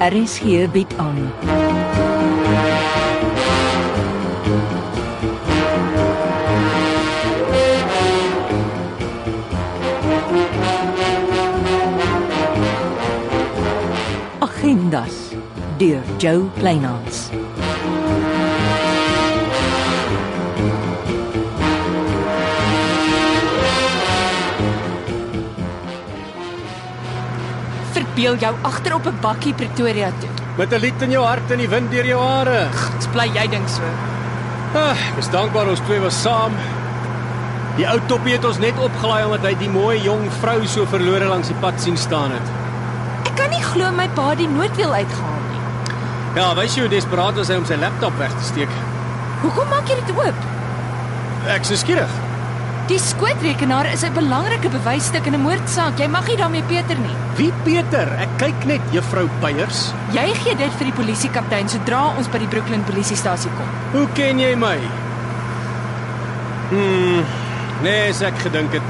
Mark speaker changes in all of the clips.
Speaker 1: RSG bied aan. Agendas deur Jo Kleinhans.
Speaker 2: Verbeel jou agter op 'n bakkie Pretoria toe.
Speaker 3: Met 'n lied in jou hart en die wind deur jou hare.
Speaker 2: Dit bly jy dink so.
Speaker 3: Ah, is dankbaar ons twee was saam. Die ou toppie het ons net opgelaai omdat hy die mooi jong vrou so verlore langs die pad sien staan het.
Speaker 2: Ek kan nie glo my pa het die noodwiel uitgehaal nie.
Speaker 3: Ja, wys jy hoe desperaat was hy om sy laptop weg te steek.
Speaker 2: Hoekom maak jy dit oop?
Speaker 3: Ek is skieurig.
Speaker 2: Die skootrekenaar is 'n belangrike bewysstuk in 'n moordsaak. Jy mag nie daarmee peter nie.
Speaker 3: Wie Peter? Ek kyk net juffrou Beyers.
Speaker 2: Jy gee dit vir die polisiekaptein sodra ons by die Brooklyn polisiestasie kom.
Speaker 3: Hoe ken jy my? Hmm. Nee, as ek gedink het.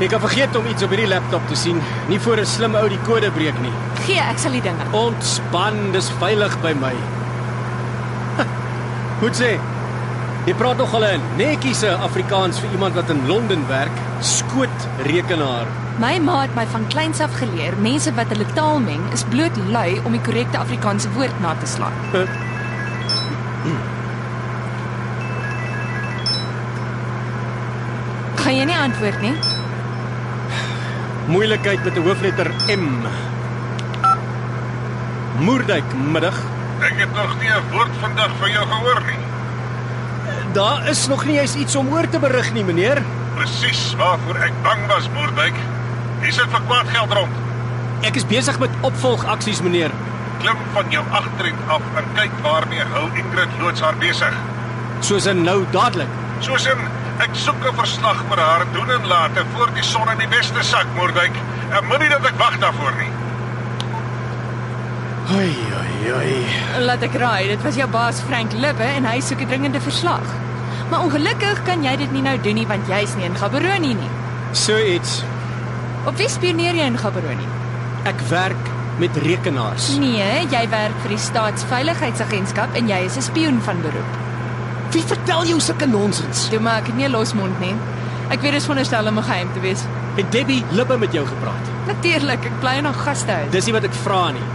Speaker 3: Ek het vergeet om iets op hierdie laptop te sien. Nie voor 'n slim ou die kode breek nie.
Speaker 2: Gee, ek sal die dinge.
Speaker 3: Ontspan, dis veilig by my. Goed sê. Jy praat nog al 'n netjiese Afrikaans vir iemand wat in Londen werk. Skoot rekenaar.
Speaker 2: My ma het my van kleins af geleer, mense wat hulle taal meng, is bloot lui om die korrekte Afrikaanse woord na te slaan. Kan jy nie antwoord nie?
Speaker 3: Moeilikheid met 'n hoofletter M. Moerdijk middag.
Speaker 4: Ek het nog nie 'n woord vandag van jou gehoor nie.
Speaker 3: Daar is nog nie eens iets om oor te berig nie, meneer.
Speaker 4: Presies waarvoor ek bang was, Moerdwyk. Hier sit vir kwaad geld rond.
Speaker 3: Ek is besig met opvolgaksies, meneer.
Speaker 4: Klim van jou agterend af en kyk waarmee hou Ingrid loods haar besig.
Speaker 3: Soos in nou dadelik.
Speaker 4: Soos in ek soek 'n verslag vir haar doen en late voor die son in die weste sak, Moerdwyk. En moenie dat ek wag daarvoor nie.
Speaker 3: Ai ai ai.
Speaker 2: Laat ek raai, dit was jou baas Frank Libbe en hy soek 'n dringende verslag. Maar ongelukkig kan jy dit nie nou doen nie want jy's nie in Gaborone nie.
Speaker 3: So iets.
Speaker 2: Op wie spioneer jy in Gaborone?
Speaker 3: Ek werk met rekenaars.
Speaker 2: Nee, jy werk vir die Staatsveiligheidsagentskap en jy is 'n spioen van beroep.
Speaker 3: Wie vertel jou sulke nonsens?
Speaker 2: Toe maar ek het nie 'n losmond nie. Ek weet dit is veronderstel om 'n geheim te wees.
Speaker 3: Het Debbie Lippe met jou gepraat?
Speaker 2: Natuurlik, ek bly in haar gastehuis.
Speaker 3: Dis nie wat ek vra nie.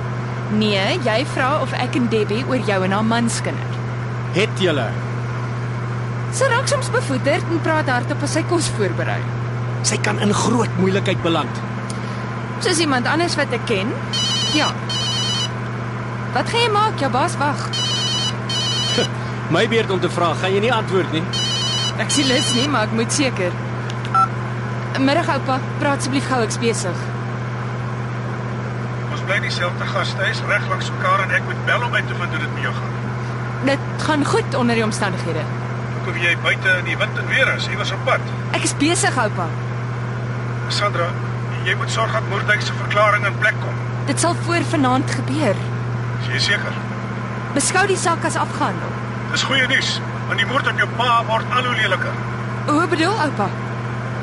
Speaker 2: Nee, jy vra of ek en Debbie oor jou en haar man skinder.
Speaker 3: Het julle?
Speaker 2: Sy raak soms bevoeterd en praat hardop as sy kos voorberei.
Speaker 3: Sy kan in groot moeilikheid beland.
Speaker 2: Soos iemand anders wat ek ken? Ja. Wat gaan jy maak? Jou baas wag.
Speaker 3: My beurt om te vra, gaan jy nie antwoord nie.
Speaker 2: Ek sien lus nie, maar ek moet seker. Middag oupa, praat asseblief gou, ek's besig.
Speaker 4: Ons bly dieselfde gastehuis reg langs mekaar en ek moet bel om uit te vind hoe dit met jou gaan.
Speaker 2: Dit gaan goed onder die omstandighede.
Speaker 4: Kom jy buite in die wind en weer is iewers op pad.
Speaker 2: Ek is besig oupa.
Speaker 4: Sandra, jy moet sorg dat Moerdwyk se verklaring in plek kom.
Speaker 2: Dit sal voor vanaand gebeur.
Speaker 4: Is jy seker?
Speaker 2: Beskou die saak as afgehandel.
Speaker 4: Dis goeie nuus, want die moord op jou pa word al hoe leliker.
Speaker 2: Hoe bedoel oupa?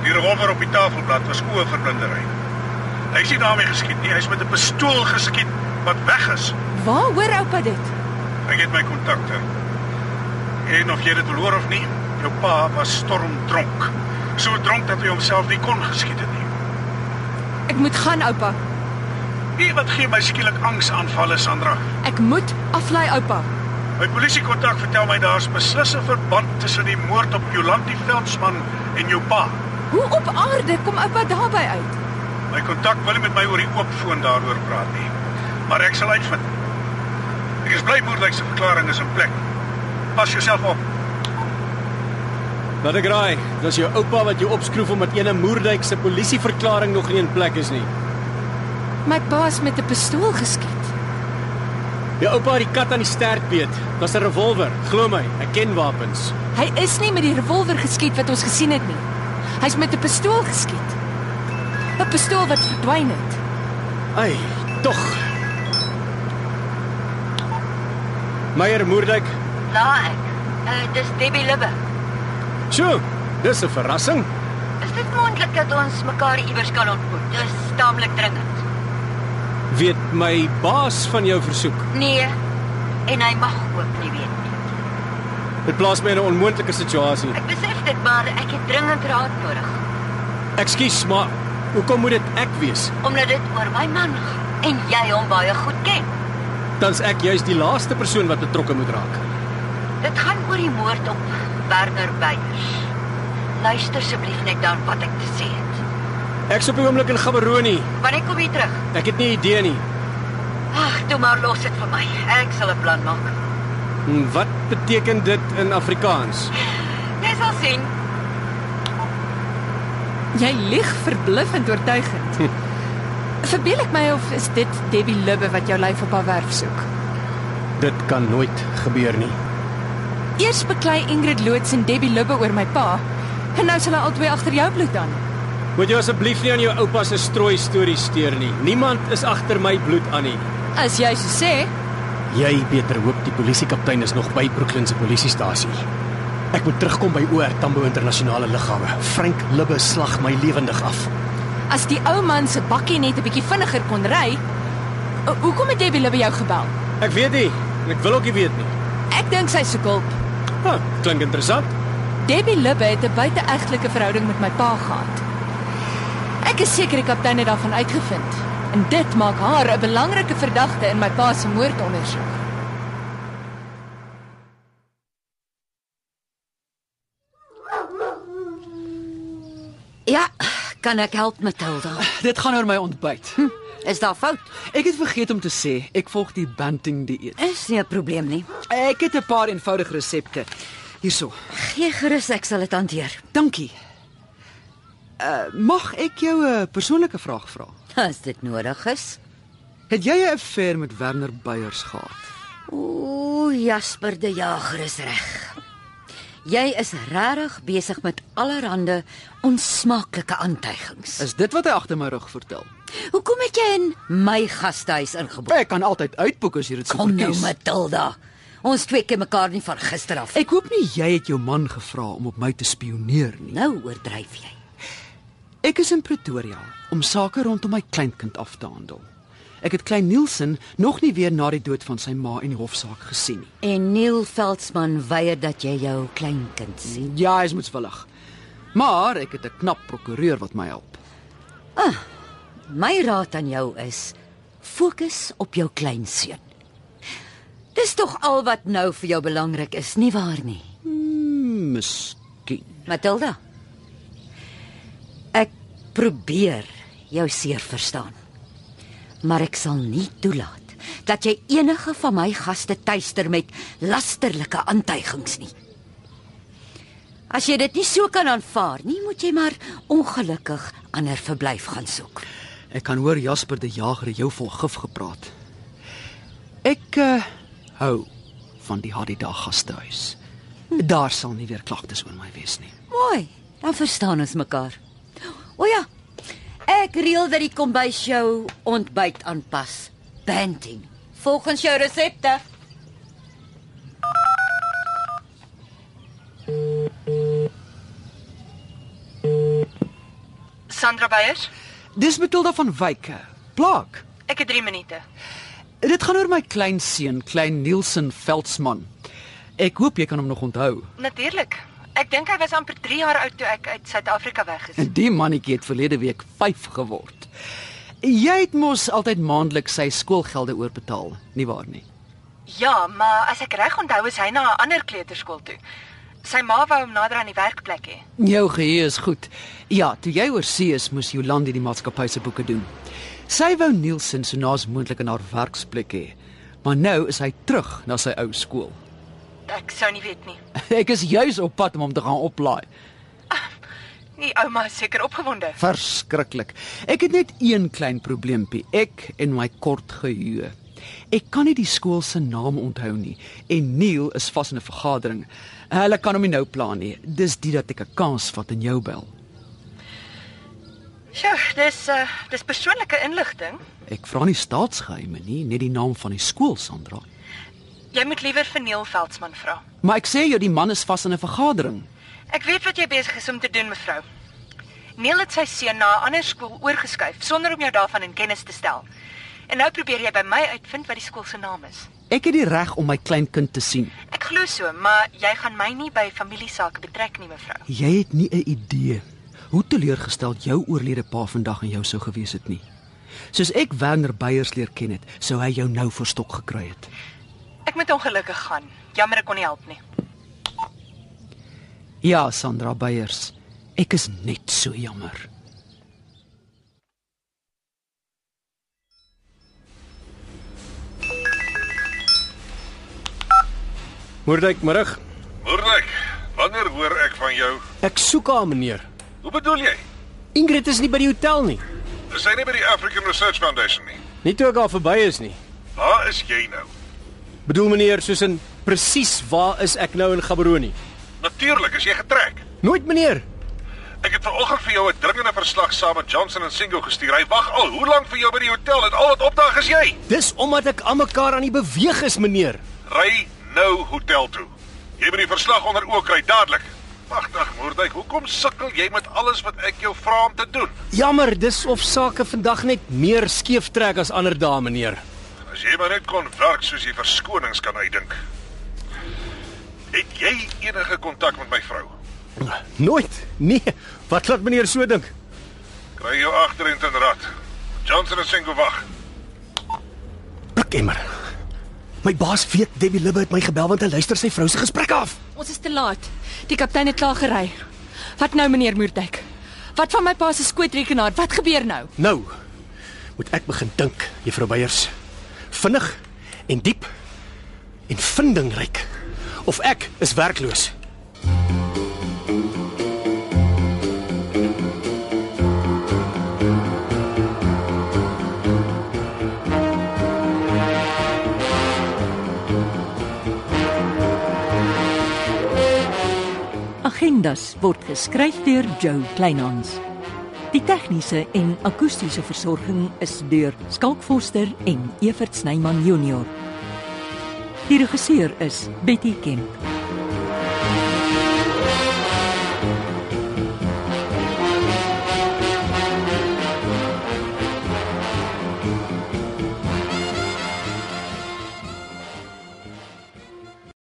Speaker 4: Die revolver op die tafelblad was oë verblindery. Hy is nie daarmee geskiet nie, hy is met 'n pistool geskiet wat weg is.
Speaker 2: Waar hoor oupa dit?
Speaker 4: Ek het my kontakte. En of jy dit wil hoor of nie, jou pa was stormdronk. So dronk dat hy homself nie kon geskiet het nie.
Speaker 2: Ek moet gaan oupa.
Speaker 4: Nie wat gee my skielik angsaanvalle, Sandra.
Speaker 2: Ek moet aflei oupa.
Speaker 4: My polisiekontak vertel my daar's beslis 'n verband tussen die moord op Jolandi Veldsmann en jou pa.
Speaker 2: Hoe op aarde kom oupa daarby uit?
Speaker 4: My kontak wil nie met my oor die oop foon daaroor praat nie. Maar ek sal uitvind. Ek is bly Moerdijk se verklaring is in plek. Pas jouself op.
Speaker 3: Laat ek raai, dis jou oupa wat jou opskroef omdat ene Moerdijk se polisieverklaring nog nie in plek is nie.
Speaker 2: My baas met 'n pistool geskiet.
Speaker 3: Jou oupa het die kat aan die stert beet. Was 'n revolver, glo my, ek ken wapens.
Speaker 2: Hy is nie met die revolver geskiet wat ons gesien het nie. Hy's met 'n pistool geskiet. 'n Pistool wat verdwyn het.
Speaker 3: Ai, tog. Meyer Moerdijk.
Speaker 5: La ek. Uh, dis Debbie Libbe.
Speaker 3: Sjoe, dis 'n verrassing.
Speaker 5: Is dit moontlik dat ons mekaar iewers kan ontmoet? Dis taamlik dringend.
Speaker 3: Weet my baas van jou versoek.
Speaker 5: Nee. En hy mag ook nie weet nie.
Speaker 3: Dit plaas my in 'n onmoontlike situasie.
Speaker 5: Ek besef dit, maar ek het dringend raad nodig
Speaker 3: Ekskuus, maar hoekom moet dit ek wees?
Speaker 5: omdat dit oor my man gaan en jy hom baie goed ken.
Speaker 3: Dan's ek juis die laaste persoon wat betrokke moet raak.
Speaker 5: Dit gaan oor die moord op Werner Beyers. Luister asseblief net dan wat ek te sê het.
Speaker 3: Ek's op die oomblik in Gaborone.
Speaker 5: Wanneer kom jy terug?
Speaker 3: Ek het nie idee nie.
Speaker 5: Ag, toe maar los dit vir my. Ek sal 'n plan maak.
Speaker 3: Hm, Wat beteken dit in Afrikaans?
Speaker 5: Jy sal sien.
Speaker 2: Jy lieg verbluffend oortuigend. Verbeel ek my of is dit Debbie Lubbe wat jou lyf op haar werf soek?
Speaker 3: Dit kan nooit gebeur nie.
Speaker 2: Eers beklei Ingrid Loots en Debbie Lubbe oor my pa en nou is hulle albei agter jou bloed aan.
Speaker 3: Moet jy asseblief nie aan jou oupa se strooi stories steur nie. Niemand is agter my bloed aan nie.
Speaker 2: As jy so sê,
Speaker 3: Jy beter hoop die polisiekaptein is nog by Brooklyn se polisiestasie. Ek moet terugkom by OR Tambo internasionale lughawe. Frank Libbe slag my lewendig af.
Speaker 2: as die ou man se bakkie net 'n bietjie vinniger kon ry, ho- hoekom het Debbie Lubbe jou gebel?
Speaker 3: Ek weet nie en ek wil ook nie weet nie.
Speaker 2: Ek dink sy soek hulp.
Speaker 3: Ha, klink interessant.
Speaker 2: Debbie Lubbe het 'n buiteegtelike verhouding met my pa gehad. Ek is seker die kaptein het daarvan uitgevind en dit maak haar 'n belangrike verdagte in my pa se moordondersoek.
Speaker 5: Ja, kan ek help met Hilda?
Speaker 6: Dit gaan oor my ontbyt.
Speaker 5: Is daar fout?
Speaker 6: Ek het vergeet om te sê ek volg die Banting dieet.
Speaker 5: Is nie 'n probleem nie.
Speaker 6: Ek het 'n paar eenvoudige resepte hierso.
Speaker 5: Gee gerus, ek sal dit hanteer.
Speaker 6: Dankie. Uh, mag ek jou 'n persoonlike vraag vra?
Speaker 5: As dit nodig is.
Speaker 6: Het jy 'n affair met Werner Beyers gehad?
Speaker 5: Ooh, Jasper die Jager is reg. Jy is regtig besig met allerhande onsmaaklike aantuigings.
Speaker 6: Is dit wat hy agter my rug vertel?
Speaker 5: Hoekom het jy in my gastehuis ingeboek?
Speaker 6: Ek kan altyd uitboek as jy dit sou
Speaker 5: Kom nou,
Speaker 6: kies.
Speaker 5: Matilda. Ons twee ken mekaar nie van gister af.
Speaker 6: Ek hoop nie jy het jou man gevra om op my te spioneer nie.
Speaker 5: nou oordryf jy.
Speaker 6: Ek is in Pretoria om sake rondom my kleinkind af te handel. Ek het klein Nielsen nog nie weer na die dood van sy ma en die hofsaak gesien nie.
Speaker 5: En Neil Veldsmann weier dat jy jou kleinkind sien.
Speaker 6: Ja, hy is moetswillig. Maar ek het 'n knap prokureur wat my help.
Speaker 5: My raad aan jou is: fokus op jou kleinseun. Dis tog al wat nou vir jou belangrik is, nie waar nie?
Speaker 6: Miskien.
Speaker 5: Matilda. Ek probeer jou seer verstaan. Maar ek sal nie toelaat dat jy enige van my gaste tuister met lasterlike aantuigings nie. As jy dit nie so kan aanvaar nie, moet jy maar ongelukkig ander verblyf gaan soek.
Speaker 6: Ek kan hoor Jasper die Jager het jou vol gif gepraat. Ek uh, hou van die Hadida gastehuis. Daar sal nie weer klagtes oor my wees nie.
Speaker 5: Mooi, dan verstaan ons mekaar. O ja. Ek reël dat die kombuis jou ontbyt aanpas. Banting. Volgens jou resepte.
Speaker 7: Sandra Beyers,
Speaker 6: Dis Matilda van Wyke, plaak.
Speaker 7: ek het 3 minute.
Speaker 6: Dit gaan oor my kleinseun, klein Nielsen Veldsmann. Ek hoop jy kan hom nog onthou.
Speaker 7: Natuurlik. Ek dink hy was amper 3 jaar oud toe ek uit Suid-Afrika weg is.
Speaker 6: En die mannetjie het verlede week 5 geword. Jy het mos altyd maandeliks sy skoolgelde oorbetaal, nie waar nie?
Speaker 7: Ja, maar as ek reg onthou is hy na 'n ander kleuterskool toe. Sy ma wou hom nader aan die werkplek hê.
Speaker 6: Jou geheue is goed. Ja, toe jy oorsee is, moes Jolande die maatskappy se boeke doen. Sy wou Nielsen so naas moontlik in haar werksplek hê. Maar nou is hy terug na sy ou skool.
Speaker 7: Ek sou nie weet nie.
Speaker 6: Ek is juis op pad om hom te gaan oplaai.
Speaker 7: Die Nee, ouma is seker opgewonde.
Speaker 6: Verskriklik. Ek het net een klein probleempie, ek en my kort geheue. Ek kan nie die skool se naam onthou nie en Neil is vas in 'n vergadering. Hulle kan hom nie nou plan nie. Dis dit dat ek 'n kans vat en jou bel.
Speaker 7: Sjoe, dis uh dis persoonlike inligting.
Speaker 6: Ek vra nie staatsgeheime nie, net die naam van die skool, Sandra.
Speaker 7: Jy moet liewer vir Neil Veldsmann vra.
Speaker 6: Maar ek sê jou die man is vas in 'n vergadering.
Speaker 7: Ek weet wat jy besig is om te doen, mevrou. Neil het sy seun na 'n ander skool oorgeskuif sonder om jou daarvan in kennis te stel. En nou probeer jy by my uitvind wat die skool se naam is.
Speaker 6: Ek het die reg om my kleinkind te sien.
Speaker 7: Ek glo so, maar jy gaan my nie by familiesake betrek nie, mevrou.
Speaker 6: Jy het nie 'n idee hoe teleurgesteld jou oorlede pa vandag aan jou sou gewees het nie. Soos ek Werner Beyers leer ken het, sou hy jou nou verstok gekry het.
Speaker 7: Ek moet ongelukkig gaan. Jammer ek kon nie help nie.
Speaker 6: Ja, Sandra Beyers. Ek is net so jammer.
Speaker 3: Moordwyk, middag.
Speaker 4: Moordwyk, wanneer hoor ek van jou?
Speaker 3: Ek soek haar, meneer.
Speaker 4: Hoe bedoel jy?
Speaker 3: Ingrid is nie by die hotel nie.
Speaker 4: Is sy nie by die African Research Foundation nie?
Speaker 3: Nie toe ek haar verby is nie.
Speaker 4: Waar is jy nou?
Speaker 3: Bedoel meneer soos in presies waar is ek nou in Gaborone?
Speaker 4: Natuurlik, as jy getrek.
Speaker 3: Nooit meneer.
Speaker 4: Ek het vanoggend vir jou 'n dringende verslag saam met Johnson en Singo gestuur. Hy wag al hoe lank vir jou by die hotel en al wat opdaag is jy.
Speaker 3: Dis omdat ek aan mekaar aan die beweeg is meneer.
Speaker 4: Ry nou hotel toe. Jy moet die verslag onder oë kry dadelik. Wagtig, Moordwyk, hoekom sukkel jy met alles wat ek jou vra om te doen?
Speaker 3: Jammer, dis of sake vandag net meer skeef trek as ander dae meneer.
Speaker 4: As jy maar net kon werk soos jy verskonings kan uitdink. Het jy enige kontak met my vrou?
Speaker 3: Nooit. Nee. Wat laat meneer so dink?
Speaker 4: Kry jou agter en ten rad. Johnson en Singo wag.
Speaker 3: Blikemmer. My baas weet Debbie Libbe het my gebel want hy luister sy vrou se gesprek af.
Speaker 2: Ons is te laat. Die kaptein het klaar gery. Wat nou meneer Moerdijk? Wat van my pa se skootrekenaar? Wat gebeur nou?
Speaker 3: Nou moet ek begin dink, juffrou Beyers. Vinnig en diep en vindingryk. Of ek is werkloos.
Speaker 1: Agendas word geskryf deur Joe Kleinhans. Die tegniese en akoestiese versorging is deur Skalk Forster en Evert Snyman Junior. Die regisseur is Betty Kemp.